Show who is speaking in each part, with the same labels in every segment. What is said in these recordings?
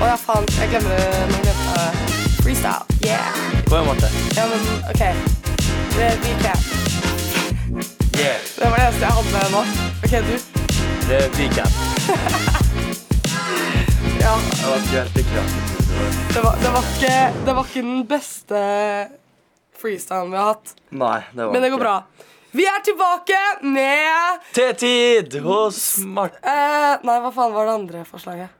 Speaker 1: Ja, faen. Jeg glemmer det. Nå glemte jeg det. Uh, Freestyle. Yeah.
Speaker 2: Kom igjen, Marte.
Speaker 1: Ja, men OK. Det liker jeg.
Speaker 2: Yeah.
Speaker 1: Det var det eneste jeg hadde nå. OK, du.
Speaker 2: Det er weekend.
Speaker 1: Ja.
Speaker 2: Jeg var ikke helt lykkelig. da.
Speaker 1: Det var, det var, ikke, det var ikke den beste freestylen vi har hatt.
Speaker 2: Nei, det var
Speaker 1: Men det
Speaker 2: ikke.
Speaker 1: går bra. Vi er tilbake med
Speaker 2: T-tid hos Marte.
Speaker 1: eh, Nei, hva faen var det andre forslaget?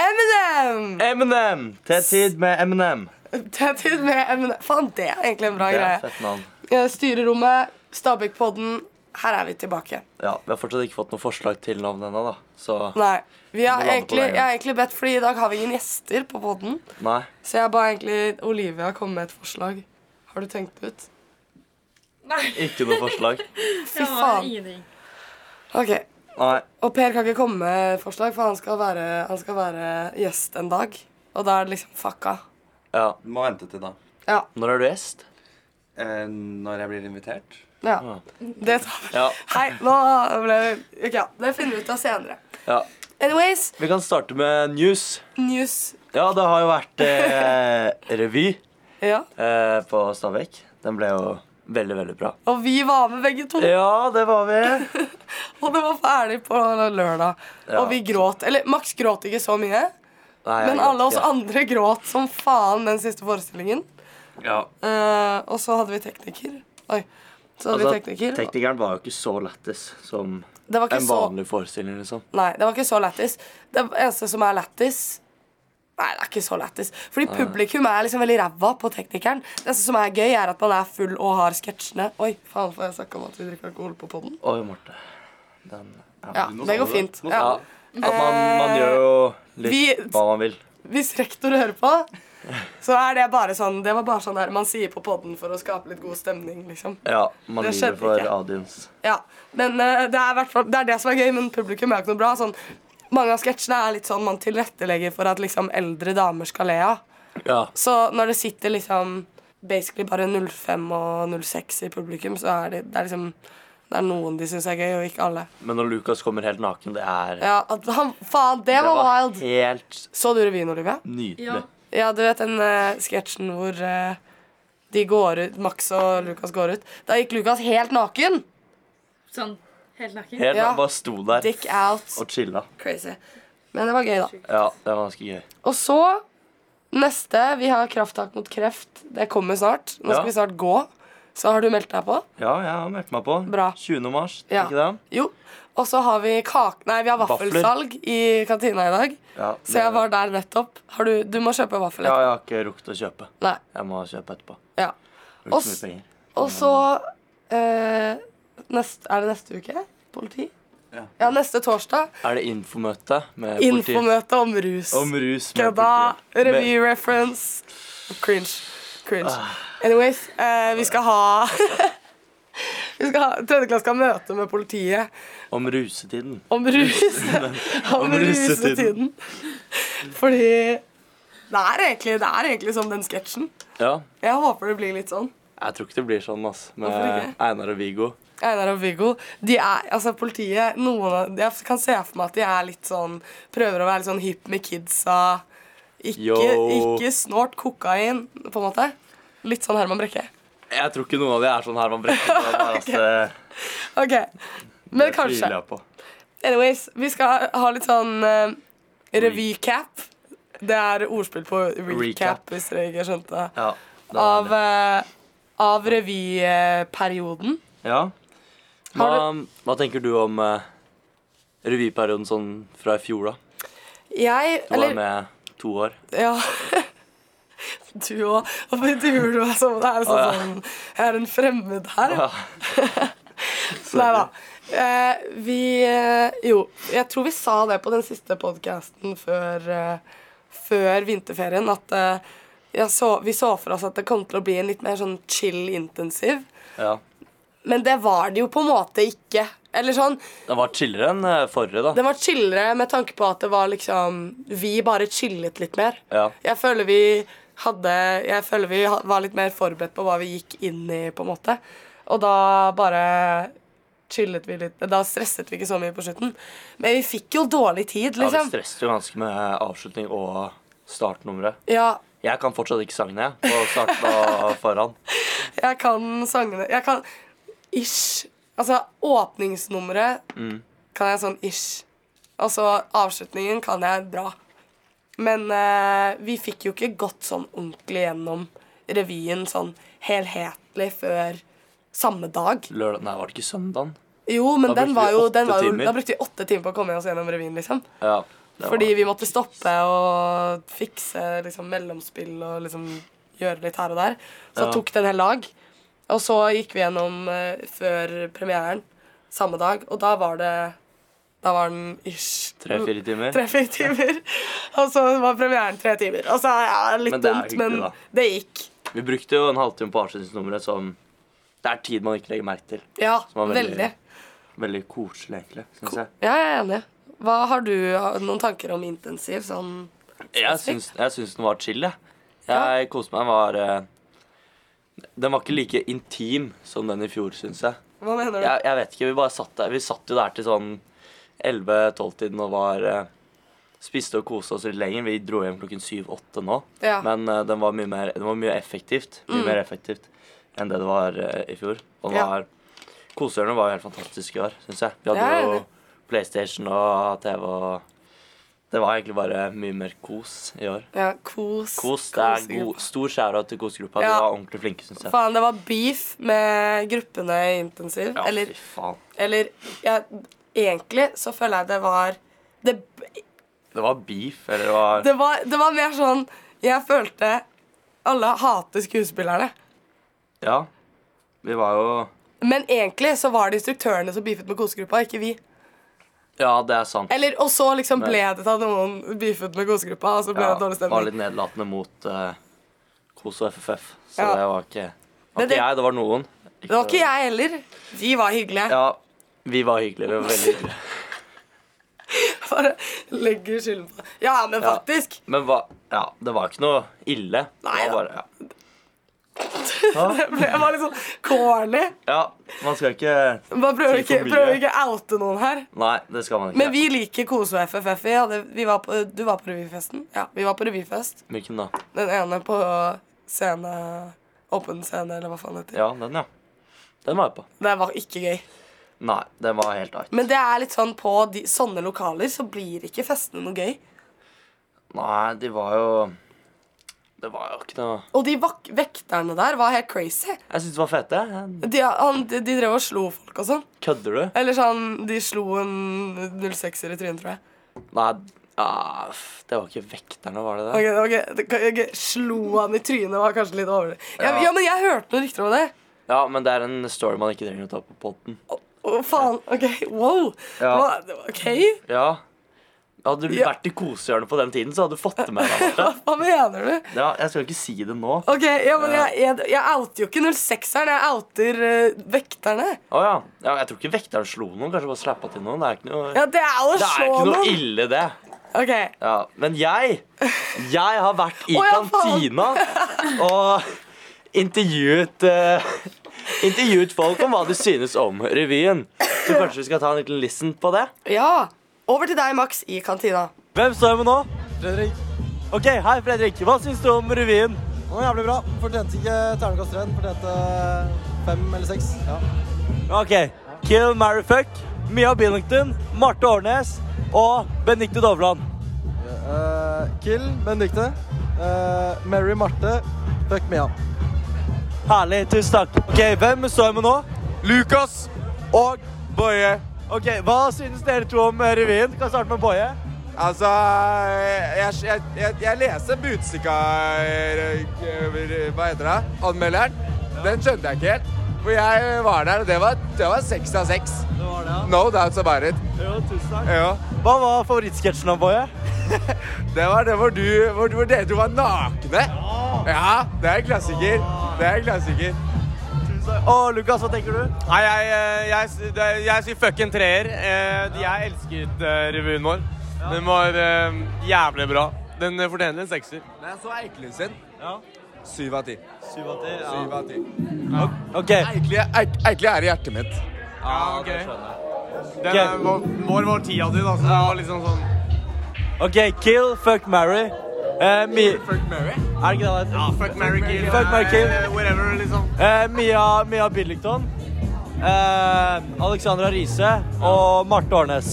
Speaker 1: Eminem!
Speaker 2: Eminem. T-tid med Eminem.
Speaker 1: Tetid med Eminem. Faen, det er egentlig en bra
Speaker 2: Det er
Speaker 1: greie.
Speaker 2: et fett navn.
Speaker 1: Eh, Styrerommet, Stabæk-podden. Her er vi tilbake.
Speaker 2: Ja, Vi har fortsatt ikke fått noe forslag til navn ennå, da. Så
Speaker 1: Nei. Vi har
Speaker 2: Vi lander på
Speaker 1: egentlig,
Speaker 2: det, ja.
Speaker 1: jeg har egentlig bedt, fordi i dag har vi ingen gjester på podden.
Speaker 2: nei.
Speaker 1: Så jeg ba egentlig Olivia komme med et forslag. Har du tenkt det ut?
Speaker 2: Ikke noe forslag.
Speaker 1: Fy
Speaker 3: Jeg har
Speaker 1: faen.
Speaker 3: ingenting.
Speaker 1: Ok,
Speaker 2: Nei.
Speaker 1: Og Per kan ikke komme med forslag, for han skal være, han skal være gjest en dag. Og da er det liksom fucka.
Speaker 2: Ja.
Speaker 4: Du må vente til da.
Speaker 1: Ja.
Speaker 2: Når er du gjest?
Speaker 4: Eh, når jeg blir invitert.
Speaker 1: ja. Det tar vi.
Speaker 2: Ja.
Speaker 1: Hei, nå ble Ok, ja. Det finner vi ut av senere.
Speaker 2: ja.
Speaker 1: Anyways,
Speaker 2: Vi kan starte med news.
Speaker 1: news.
Speaker 2: Ja, det har jo vært eh, revy
Speaker 1: Ja.
Speaker 2: eh, på Stabekk. Den ble jo veldig, veldig bra.
Speaker 1: Og vi var med begge to,
Speaker 2: Ja, det var vi.
Speaker 1: og det var ferdig på lørdag.
Speaker 2: Ja.
Speaker 1: Og vi gråt. Eller Max gråt ikke så mye,
Speaker 2: Nei, jeg
Speaker 1: men
Speaker 2: gråt
Speaker 1: alle oss
Speaker 2: ikke.
Speaker 1: andre gråt som faen den siste forestillingen.
Speaker 2: Ja.
Speaker 1: Eh, og så hadde vi tekniker. Oi. Så hadde vi
Speaker 2: Altså,
Speaker 1: tekniker.
Speaker 2: Teknikeren var jo ikke så lættis som
Speaker 1: det var ikke
Speaker 2: en
Speaker 1: så
Speaker 2: vanlig forestilling, liksom.
Speaker 1: Nei, det var ikke så lættis. Det eneste som er lættis Nei, det er ikke så lættis. Fordi publikum er liksom veldig ræva på teknikeren. Det eneste som er gøy, er at man er full og har sketsjene. Oi, faen, får jeg snakka om at vi drikker alkohol på podden?
Speaker 2: Oi, Marte. Den
Speaker 1: Ja,
Speaker 4: nå
Speaker 1: det
Speaker 4: sa du
Speaker 1: går
Speaker 4: det.
Speaker 1: fint.
Speaker 4: Nå sa
Speaker 1: Ja. Eh,
Speaker 2: Ja. At man, man gjør jo litt
Speaker 1: Vi-
Speaker 2: hva man vil.
Speaker 1: hvis rektor hører på, så er det bare sånn Det var bare sånn her man sier på podden for å skape litt god stemning, liksom.
Speaker 2: Ja, man
Speaker 1: Det
Speaker 2: lyver
Speaker 1: skjedde
Speaker 2: for
Speaker 1: ikke.
Speaker 2: audience.
Speaker 1: Ja, Men eh, det er, i hvert fall- det er det som er gøy, men publikum er jo ikke noe bra. Sånn, mange av sketsjene er litt sånn man tilrettelegger for at liksom eldre damer skal le av.
Speaker 2: Ja.
Speaker 1: Så når det sitter liksom basically bare 05 og 06 i publikum, så er det, det er liksom det er noen de syns er gøy, og ikke alle.
Speaker 2: Men når Lucas kommer helt naken, det er
Speaker 1: Ja, at han, Faen, det
Speaker 2: Det
Speaker 1: var
Speaker 2: var
Speaker 1: wild!
Speaker 2: helt
Speaker 1: Så du revyen, Olivia?
Speaker 2: nydelig.
Speaker 3: Ja.
Speaker 1: Ja, du vet den eh, sketsjen hvor eh, de går ut, Max og Lukas går ut. Da gikk Lukas helt naken.
Speaker 3: Sånn helt naken.
Speaker 2: Helt
Speaker 1: Ja.
Speaker 2: Han bare sto der
Speaker 1: Dick out.
Speaker 2: og chilla.
Speaker 1: Crazy. Men det var gøy, da.
Speaker 2: Ja, det var ganske gøy.
Speaker 1: Og så neste. Vi har Krafttak mot kreft. Det kommer snart. Nå
Speaker 2: Ja.
Speaker 1: skal vi snart gå. Så har du meldt deg på?
Speaker 2: Ja, jeg har meldt meg på.
Speaker 1: Bra.
Speaker 2: 20. mars,
Speaker 1: Ja.
Speaker 2: ikke det?
Speaker 1: Jo. Og så har vi kake... Nei, vi har
Speaker 2: Vafler.
Speaker 1: vaffelsalg i kantina i dag.
Speaker 2: Ja,
Speaker 1: Så jeg var der nettopp. Har du, du må kjøpe vaffel.
Speaker 2: Ja,
Speaker 1: etterpå.
Speaker 2: jeg har ikke rukket å kjøpe.
Speaker 1: Nei.
Speaker 2: Jeg må kjøpe etterpå.
Speaker 1: Ja.
Speaker 2: Brukt
Speaker 1: Og
Speaker 2: så mye
Speaker 1: s-
Speaker 2: penger.
Speaker 1: Og så eh, nest, Er det neste uke? Politi?
Speaker 4: Ja.
Speaker 1: ja, neste torsdag.
Speaker 2: Er det infomøte med politiet?
Speaker 1: Infomøte om rus.
Speaker 2: Om rus med
Speaker 1: Kødda.
Speaker 2: politiet.
Speaker 1: Revy reference. Cringe. Cringe. Anyways, eh, vi skal ha Vi skal ha Tredjeklasse skal ha møte med politiet
Speaker 2: Med, om rusetiden.
Speaker 1: om rus. om
Speaker 2: Om rusetiden.
Speaker 1: rusetiden. Fordi det er, egentlig, det er egentlig som den sketsjen.
Speaker 2: Ja.
Speaker 1: Jeg håper det blir litt sånn.
Speaker 2: Jeg tror ikke det blir sånn, ass. Med
Speaker 1: Hvorfor ikke?
Speaker 2: Einar og Viggo.
Speaker 1: Einar og Viggo, de er, altså politiet noen av, Jeg kan se for meg at de er litt sånn Prøver å være litt sånn hip med kidsa. Ikke,
Speaker 2: Yo.
Speaker 1: ikke snort kokain, på en måte. Litt sånn Herman Brekke.
Speaker 2: Jeg tror ikke noen av de er sånn Herman Brekke. Det, er, altså,
Speaker 1: Ok, Men
Speaker 2: det
Speaker 1: kanskje.
Speaker 2: tviler jeg på.
Speaker 1: Anyways, vi skal ha litt sånn uh, revycap. Det er ordspill på recap,
Speaker 2: Recap.
Speaker 1: hvis dere ikke skjønte det.
Speaker 2: Ja, det er
Speaker 1: Av,
Speaker 2: det.
Speaker 1: eh, av revyperioden.
Speaker 2: ja. Hva,
Speaker 1: eh, Har
Speaker 2: hva tenker du om eh, revyperioden sånn fra i fjor, da?
Speaker 1: Jeg
Speaker 2: Du var med to år.
Speaker 1: Ja. Du òg. Hvorfor intervjuer du meg som det er sånn,
Speaker 2: Å, ja.
Speaker 1: sånn Jeg er en fremmed her.
Speaker 2: Ja.
Speaker 1: Nei da. Eh, vi eh, Jo, jeg tror vi sa det på den siste podkasten før, eh, før vinterferien, at eh, jeg så, vi så for oss at det kom til å bli en litt mer sånn chill intensiv.
Speaker 2: Ja.
Speaker 1: Men det var det jo på en måte ikke. Eller sånn,
Speaker 2: Den var chillere enn eh, forrige, da.
Speaker 1: Den var chillere med tanke på at det var liksom Vi bare chillet litt mer.
Speaker 2: Ja.
Speaker 1: Jeg føler vi hadde Jeg føler vi ha- var litt mer forberedt på hva vi gikk inn i, på en måte. Og da bare chillet vi litt Da stresset vi ikke så mye på slutten. Men vi fikk jo dårlig tid,
Speaker 2: Ja, vi
Speaker 1: liksom.
Speaker 2: stresset jo ganske med avslutning og startnummeret.
Speaker 1: Ja,
Speaker 2: Jeg kan fortsatt ikke sangene, jeg. På starten og foran.
Speaker 1: jeg kan sangene Jeg kan ish. Altså åpningsnummeret
Speaker 2: Mm.
Speaker 1: kan jeg sånn ish. Og så avslutningen kan jeg bra. Men eh, vi fikk jo ikke gått sånn ordentlig gjennom revyen sånn helhetlig før samme dag.
Speaker 2: Lørdag Nei, var det ikke søndagen?
Speaker 1: Jo, men
Speaker 2: Da
Speaker 1: den
Speaker 2: brukte
Speaker 1: var
Speaker 2: vi
Speaker 1: jo,
Speaker 2: åtte
Speaker 1: den var jo
Speaker 2: timer.
Speaker 1: Da brukte vi åtte timer på å komme oss gjennom revyen, liksom.
Speaker 2: Ja. det var-
Speaker 1: Fordi vi måtte stoppe og fikse liksom, mellomspill og liksom, gjøre litt her og der. Så
Speaker 2: Ja.
Speaker 1: tok det en hel dag. Og så gikk vi gjennom eh, før premieren samme dag, og da var det Da var den ish
Speaker 2: Tre-fire timer.
Speaker 1: Tre-fire timer. og så var premieren tre timer. Og så ja, litt
Speaker 2: Men det er
Speaker 1: dumt,
Speaker 2: hyggelig,
Speaker 1: men
Speaker 2: da.
Speaker 1: det gikk.
Speaker 2: Vi brukte jo en halvtime på avslutningsnummeret som Det er tid man ikke legger merke til.
Speaker 1: Ja,
Speaker 2: Som var veldig-
Speaker 1: veldig.
Speaker 2: Veldig koselig, egentlig. Synes jeg.
Speaker 1: Ja, jeg er enig. Hva har du har du noen tanker om intensiv? Sånn
Speaker 2: Jeg syns, jeg syns den var chill, jeg. Jeg koste meg. Den var eh, Den var ikke like intim som den i fjor, syns jeg.
Speaker 1: Hva mener du?
Speaker 2: jeg. Jeg vet ikke, Vi bare satt der Vi satt jo der til sånn 11-12-tiden og var eh, Spiste og koste oss litt lenger. Vi dro hjem klokken 7-8 nå.
Speaker 1: Ja. Mm.
Speaker 2: Men eh, den var mye mer, den var mye effektivt Mye mer effektivt enn det det var eh, i fjor. Og den
Speaker 1: Ja.
Speaker 2: var Kosehjørnet var jo helt fantastisk i år, syns jeg. Vi hadde
Speaker 1: Ja,
Speaker 2: jo
Speaker 1: enig.
Speaker 2: PlayStation og TV og Det var egentlig bare mye mer kos i år.
Speaker 1: Ja, kos.
Speaker 2: Kos, det er
Speaker 1: i
Speaker 2: god, stor skjæra til kosgruppa.
Speaker 1: Ja.
Speaker 2: De var ordentlig flinke, syns jeg.
Speaker 1: Faen, det var beef med gruppene i intensiv.
Speaker 2: Ja,
Speaker 1: eller
Speaker 2: fy faen.
Speaker 1: eller ja, egentlig så føler jeg det var det,
Speaker 2: Det var beef, eller det var
Speaker 1: det var Det var mer sånn Jeg følte alle hater skuespillerne.
Speaker 2: Ja. Vi var jo
Speaker 1: Men egentlig så var det instruktørene som beefet med kosegruppa, ikke vi.
Speaker 2: Ja, det er sant.
Speaker 1: Eller, Og så liksom
Speaker 2: Men-
Speaker 1: ble det til at noen beefet med kosegruppa, og så ble
Speaker 2: Ja,
Speaker 1: det dårlig
Speaker 2: var
Speaker 1: stemning.
Speaker 2: litt nedlatende mot eh, Kos og FFF. Så
Speaker 1: Ja.
Speaker 2: det var ikke, var
Speaker 1: Men
Speaker 2: ikke
Speaker 1: det-
Speaker 2: jeg, det var noen.
Speaker 1: Det var ikke jeg heller. De var hyggelige.
Speaker 2: Ja, vi var hyggelige. Vi var veldig hyggelige.
Speaker 1: Bare legger skylden på Ja, men
Speaker 2: Ja.
Speaker 1: faktisk.
Speaker 2: Men hva Ja, det var ikke noe ille.
Speaker 1: Nei
Speaker 2: det
Speaker 1: da.
Speaker 2: var bare, ja.
Speaker 1: Det ble- det var litt sånn corny.
Speaker 2: ja, man skal ikke
Speaker 1: Bare prøver
Speaker 2: Si
Speaker 1: ikke,
Speaker 2: for mye.
Speaker 1: prøver ikke oute noen her.
Speaker 2: Nei, det skal man ikke.
Speaker 1: Men vi liker Kose og FFF. Vi hadde, vi var på, du var på revyfesten? Ja, vi var på revyfest.
Speaker 2: Hvilken da?
Speaker 1: Den ene på scene Åpen scene, eller hva faen det heter.
Speaker 2: Ja, den, ja. Den var jeg på.
Speaker 1: Det var ikke gøy.
Speaker 2: Nei, den var helt out.
Speaker 1: Men det er litt sånn på de, sånne lokaler så blir ikke festene noe gøy.
Speaker 2: Nei, de var jo Det var jo ikke noe
Speaker 1: Og de vak vekterne der var helt crazy.
Speaker 2: Jeg syns de var fete. jeg.
Speaker 1: De, han, de, de drev og slo folk og sånn.
Speaker 2: Kødder du?
Speaker 1: Eller sånn De slo en 06-er i trynet, tror jeg.
Speaker 2: Nei, ah, f- det var ikke vekterne, var det det?
Speaker 1: Ok, ok, ok, Slo han i trynet var kanskje litt overdrevet. Ja.
Speaker 2: Ja.
Speaker 1: ja, men jeg hørte noen rykter om det.
Speaker 2: Ja, men det er en story man ikke trenger å ta på potten.
Speaker 1: Å, faen. OK, wow.
Speaker 2: Ja.
Speaker 1: Hva, OK.
Speaker 2: Ja. Hadde du
Speaker 1: Ja.
Speaker 2: vært i kosehjørnet på den tiden, så hadde du fått det med deg. Marte.
Speaker 1: Hva mener du?
Speaker 2: Ja, jeg skal ikke si det nå. Å
Speaker 1: Ok, ja, men jeg, jeg, jeg outer jo ikke 06-eren, jeg outer eh, vekterne.
Speaker 2: ja. ja. Jeg tror ikke vekteren slo noen. Kanskje bare slappa til noen. Det er ikke noe
Speaker 1: Ja, det er jo å
Speaker 2: Det er
Speaker 1: slå
Speaker 2: ikke noe
Speaker 1: noen.
Speaker 2: ille, det.
Speaker 1: Ok,
Speaker 2: Ja, men jeg Jeg har vært i
Speaker 1: Å, ja, faen.
Speaker 2: kantina og intervjuet eh, Intervjuet folk om hva de synes om revyen. Så kanskje vi skal ta en liten listen på det?
Speaker 1: ja. Over til deg, Max, i kantina.
Speaker 2: Hvem står jeg med nå? Fredrik. Ok, Hei, Fredrik. Hva syns du om revyen?
Speaker 5: Det var jævlig bra. Fortjente ikke terningkast én, fortjente fem eller seks. Ja.
Speaker 2: Ok. Kill Mary Fuck, Mia Billington, Marte Årnes og Benikte Dovland.
Speaker 5: Eh, kill Benedicte. Eh, Mary Marte. Fuck Mia.
Speaker 2: Herlig. Tusen takk. Ok, Hvem står jeg med nå? Lukas og Boje. Ok, Hva synes dere to om eh, revyen? Kan starte med Boje.
Speaker 6: Altså, eh, jeg, jeg, jeg, jeg leser Budstikka Hva heter det? Anmelderen. Den skjønte jeg ikke helt. For jeg var der, og det var, det var seks av seks.
Speaker 5: Det var det,
Speaker 6: No doubts about it.
Speaker 5: Jo, tusen takk.
Speaker 6: Ja.
Speaker 2: Hva var favorittsketsjen av Boje?
Speaker 6: Det var det hvor, du, hvor, hvor dere to var nakne. Ja, det er en klassiker.
Speaker 5: Ah.
Speaker 6: Det er en klassiker.
Speaker 2: Og Lukas, hva tenker du?
Speaker 6: Nei, jeg, eh, jeg, jeg, sier fuck en treer. Eh, Jeg elsket eh, revyen vår. Den var eh, jævlig bra. Den eh, fortjener en sekser. Nei, jeg så Eikelund sin. Syv av ti.
Speaker 5: Syv av ti. Ja.
Speaker 6: Syv av ti.
Speaker 2: Ok,
Speaker 6: Eikli, Eik, Eikli er i hjertet mitt. Ja, ok. Den eh,
Speaker 2: er
Speaker 6: vår, vår ti av ti, da. Så det var liksom sånn
Speaker 2: ok, Kill, Fuck, Mary
Speaker 5: Eh, Mi-
Speaker 6: Fuck Mary?
Speaker 5: er det ikke det det
Speaker 6: Ja,
Speaker 5: heter?
Speaker 6: fuck Mary Kill.
Speaker 5: Fuck, Mary, kill.
Speaker 6: eh, Whatever, liksom.
Speaker 5: Eh, Mia, Mia Billington. Eh, Alexandra Riise og Marte Årnes.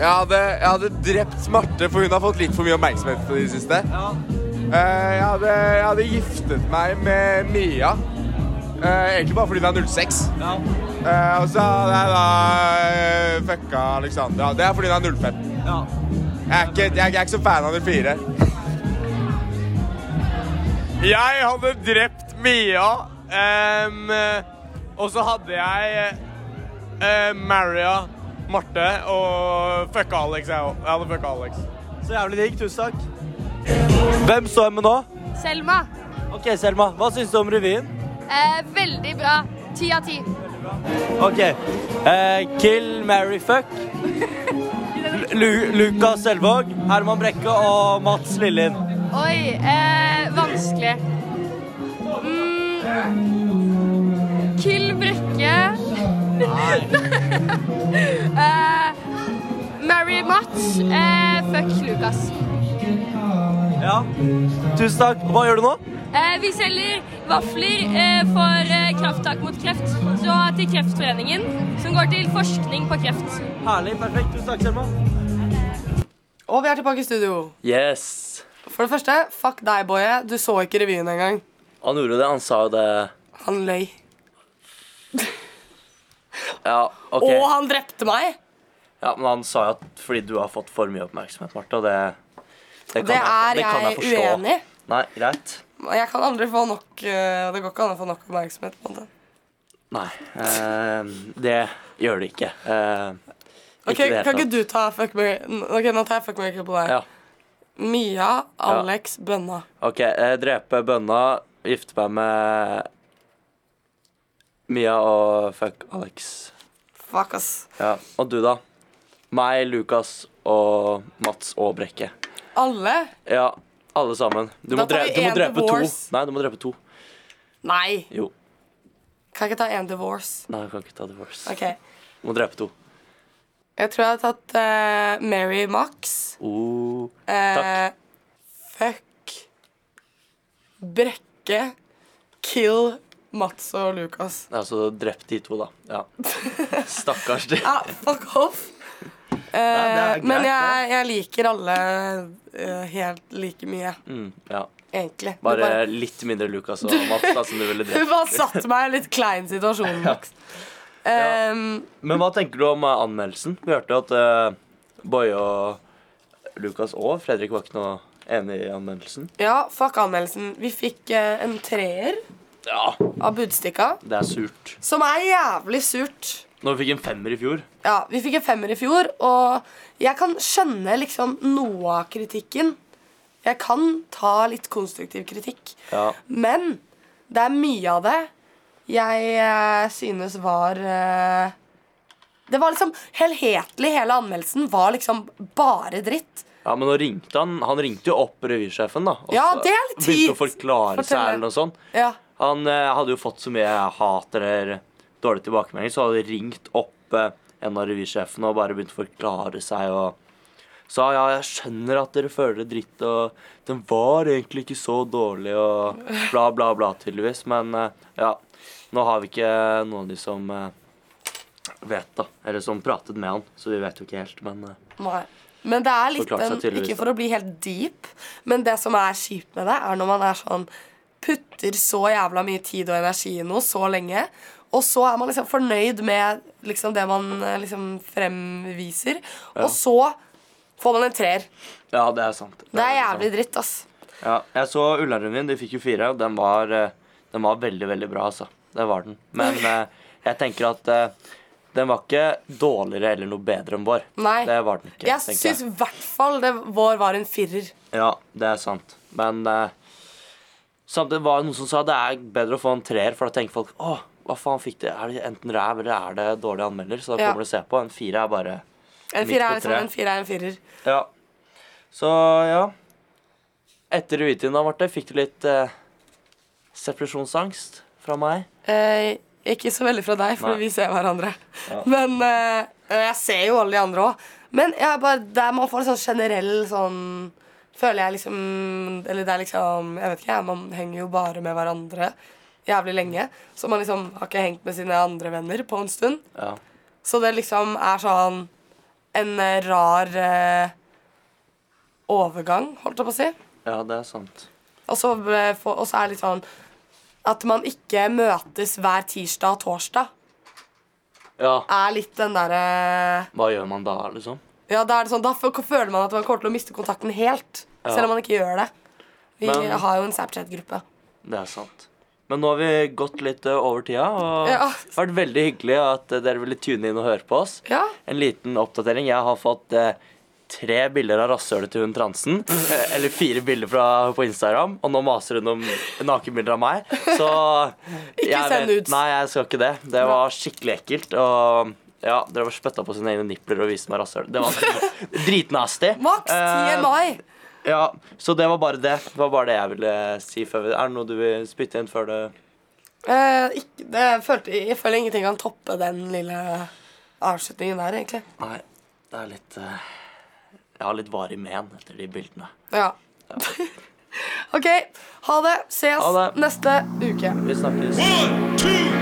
Speaker 6: Jeg hadde, jeg hadde drept Marte, for hun har fått litt for mye oppmerksomhet på det siste. Eh, jeg, hadde, jeg hadde giftet meg med Mia. Eh, egentlig bare fordi hun er 06. Eh, og så hadde jeg da eh, fucka Alexandra. Det er fordi hun er 05. Jeg, er ikke, jeg, jeg er ikke så fan av 04. Jeg hadde drept Mia. em, og så hadde jeg eh, Maria, Marte og fucka Alex. Jeg, også. jeg hadde fucka Alex.
Speaker 5: Så jævlig digg. Tusen takk. Hvem står jeg med nå?
Speaker 7: Selma.
Speaker 5: OK, Selma. Hva syns du om revyen?
Speaker 7: Eh, veldig bra. Ti av ti.
Speaker 5: OK. Eh, kill, marry, fuck. Lu Lukas Selvåg, Herman Brekke og Mats Lillien.
Speaker 7: Oi, eh, vanskelig. Mm. Kill Brekke. eh, Mary Mats. Eh, fuck Lukas.
Speaker 5: Ja. Tusen takk. Hva gjør du nå?
Speaker 7: Eh, vi selger vafler eh, for eh, Krafttak mot kreft. Så til Kreftforeningen, som går til forskning på kreft.
Speaker 5: Herlig. Perfekt. Tusen takk, Selma.
Speaker 1: Og vi er tilbake i studio.
Speaker 2: Yes.
Speaker 1: For det første, fuck deg, Boje. Du så ikke revyen engang.
Speaker 2: Han gjorde det. Han sa jo det.
Speaker 1: Han løy.
Speaker 2: Ja, OK.
Speaker 1: Og han drepte meg!
Speaker 2: Ja, men han sa jo at fordi du har fått for mye oppmerksomhet, Marte, og det Det,
Speaker 1: Det er jeg uenig i.
Speaker 2: Nei, greit.
Speaker 1: Jeg kan aldri få nok eh, Det går ikke an å få nok oppmerksomhet. på en måte.
Speaker 2: Nei. eh, det gjør det ikke. Eh,
Speaker 1: Ok,
Speaker 2: i det hele
Speaker 1: Kan
Speaker 2: tatt.
Speaker 1: ikke du ta fuck me Ok, Nå tar jeg fuck me ikke på deg.
Speaker 2: Ja.
Speaker 1: Mia, Alex, Bønna.
Speaker 2: OK. eh, drepe bønna, gifte meg med Mia og fuck Alex.
Speaker 1: Fuck, ass.
Speaker 2: Ja. Og du, da? Meg, Lukas og Mats og Brekke.
Speaker 1: Alle?
Speaker 2: Ja, alle sammen. Du
Speaker 1: Da
Speaker 2: må,
Speaker 1: tar
Speaker 2: dre
Speaker 1: vi
Speaker 2: du må
Speaker 1: en
Speaker 2: drepe to.
Speaker 1: divorce.
Speaker 2: Nei, du må drepe to.
Speaker 1: Nei.
Speaker 2: Jo.
Speaker 1: Kan jeg ikke ta én divorce?
Speaker 2: Nei, jeg kan ikke ta divorce.
Speaker 1: Ok.
Speaker 2: Du må drepe to.
Speaker 1: Jeg tror jeg har tatt eh, Mary Max.
Speaker 2: Oh.
Speaker 1: Eh, fuck Brekke. Kill Mats og Lukas.
Speaker 2: Ja, så altså, drept de to, da. Ja. Stakkars de.
Speaker 1: Ja, Ah, fuck off. Eh,
Speaker 2: det er greit,
Speaker 1: men jeg,
Speaker 2: det.
Speaker 1: jeg liker alle eh, helt like mye,
Speaker 2: Mm, ja.
Speaker 1: egentlig. Du
Speaker 2: Bare litt mindre Lukas og Mats, da, som du ville
Speaker 1: Du
Speaker 2: drept.
Speaker 1: bare satte meg i en litt klein situasjon, Max. Ehm,
Speaker 2: Men hva tenker du om eh, anmeldelsen? Vi hørte at eh, Boje og Lukas og Fredrik var ikke noe enig i anmeldelsen.
Speaker 1: ja, fuck anmeldelsen. Vi fikk eh, en treer
Speaker 2: Ja,
Speaker 1: av Budstikka,
Speaker 2: det er surt.
Speaker 1: som er jævlig surt.
Speaker 2: Når vi fikk en femmer i fjor.
Speaker 1: Ja, Vi fikk en femmer i fjor, og jeg kan skjønne liksom noe av kritikken. Jeg kan ta litt konstruktiv kritikk.
Speaker 2: Ja.
Speaker 1: Men det er mye av det jeg eh, synes var eh, Det var liksom helhetlig. Hele anmeldelsen var liksom bare dritt.
Speaker 2: Ja, men nå ringte han Han ringte jo opp revysjefen, da. Og
Speaker 1: Ja,
Speaker 2: så
Speaker 1: det er litt tid.
Speaker 2: Begynte å forklare seg
Speaker 1: Fortell det.
Speaker 2: eller noe sånt.
Speaker 1: Ja,
Speaker 2: Han eh, hadde jo fått så mye hat eller dårlige tilbakemeldinger, så hadde de ringt opp eh, en av revysjefene og bare begynt å forklare seg og sa ja, jeg skjønner at dere føler det dritt, og den var egentlig ikke så dårlig og bla, bla, bla, tydeligvis. Men eh, ja, nå har vi ikke noen av de som eh, vet, da. Eller som pratet med han, så vi vet jo ikke helt, men eh,
Speaker 1: nei. Men det er litt
Speaker 2: Forklarte
Speaker 1: den,
Speaker 2: seg tydeligvis,
Speaker 1: Ikke for å bli helt deep, men det som er kjipt med det, er når man er sånn Putter så jævla mye tid og energi i noe så lenge, og så er man liksom fornøyd med liksom det man eh, liksom fremviser, og så får man en treer.
Speaker 2: ja, det er liksom- sant.
Speaker 1: Det er
Speaker 2: sant.
Speaker 1: jævlig dritt, ass.
Speaker 2: Ja, jeg så Ullern min, de fikk jo fire, og den var, eh, den var veldig, veldig bra, altså. Det var den. Men eh, jeg tenker at eh, den var ikke dårligere eller noe bedre enn vår.
Speaker 1: Nei.
Speaker 2: Det var den ikke,
Speaker 1: Jeg
Speaker 2: tenker
Speaker 1: syns i hvert fall det vår var en firer.
Speaker 2: Ja, det er sant. Men eh, samtidig var det noen som sa det er bedre å få en treer, for da tenker folk åh, hva faen fikk de? Er det enten ræv eller er det dårlig anmelder? Så da
Speaker 1: Ja.
Speaker 2: kommer du og ser på. En fire er bare
Speaker 1: En
Speaker 2: Midt
Speaker 1: firer
Speaker 2: på
Speaker 1: er liksom
Speaker 2: treet.
Speaker 1: en firer er en firer.
Speaker 2: Ja. Så ja. Etter Uitin da, Marte, fikk du litt eh, separasjonsangst fra meg?
Speaker 1: Eh, ikke så veldig fra deg, for
Speaker 2: Nei.
Speaker 1: vi ser hverandre. Men eh, jeg ser jo alle de andre òg. Men jeg bare, der man får en sånn generell sånn føler jeg liksom Eller det er liksom Jeg vet ikke, jeg. Man henger jo bare med hverandre jævlig lenge. Så man liksom har ikke hengt med sine andre venner på en stund.
Speaker 2: Ja.
Speaker 1: Så det liksom er sånn en eh, rar eh, overgang, holdt jeg på å si.
Speaker 2: ja, det er sant.
Speaker 1: Og så eh, få- og så er det litt sånn at man ikke møtes hver tirsdag og torsdag,
Speaker 2: Ja,
Speaker 1: er litt den derre
Speaker 2: hva gjør man da, liksom?
Speaker 1: Ja, da er det sånn, da f- føler man at man kommer til å miste kontakten helt.
Speaker 2: Ja.
Speaker 1: Selv om man ikke gjør det. Vi
Speaker 2: Men-
Speaker 1: har jo en Snapchat-gruppe.
Speaker 2: Det er sant. Men nå har vi gått litt eh, over tida, og
Speaker 1: Ja.
Speaker 2: det har vært veldig hyggelig at eh, dere ville tune inn og høre på oss.
Speaker 1: Ja.
Speaker 2: En liten oppdatering. Jeg har fått eh, tre bilder av rasshølet til hun transen. eh, Eller fire bilder fra, på Instagram, og nå maser hun om nakenbilder av meg. Så Ikke
Speaker 1: send ut.
Speaker 2: Nei, jeg skal ikke det. Det var skikkelig ekkelt. Og ja, dere var spytta på sine egne nipler og viste meg rasshølet. Det var dritnasty.
Speaker 1: Maks 10.
Speaker 2: Eh,
Speaker 1: mai!
Speaker 2: ja, så det var bare det. Det var bare det jeg ville si før vi Er det noe du vil spytte inn før det
Speaker 1: Eh, ikke, det følte, jeg føler ingenting kan toppe den lille avslutningen der, egentlig.
Speaker 2: Nei, det er litt eh, Jeg har litt varig men etter de bildene.
Speaker 1: Ja. OK. Ha det. Ses
Speaker 2: Ha det.
Speaker 1: neste uke.
Speaker 2: Vi snakkes.
Speaker 8: One, two,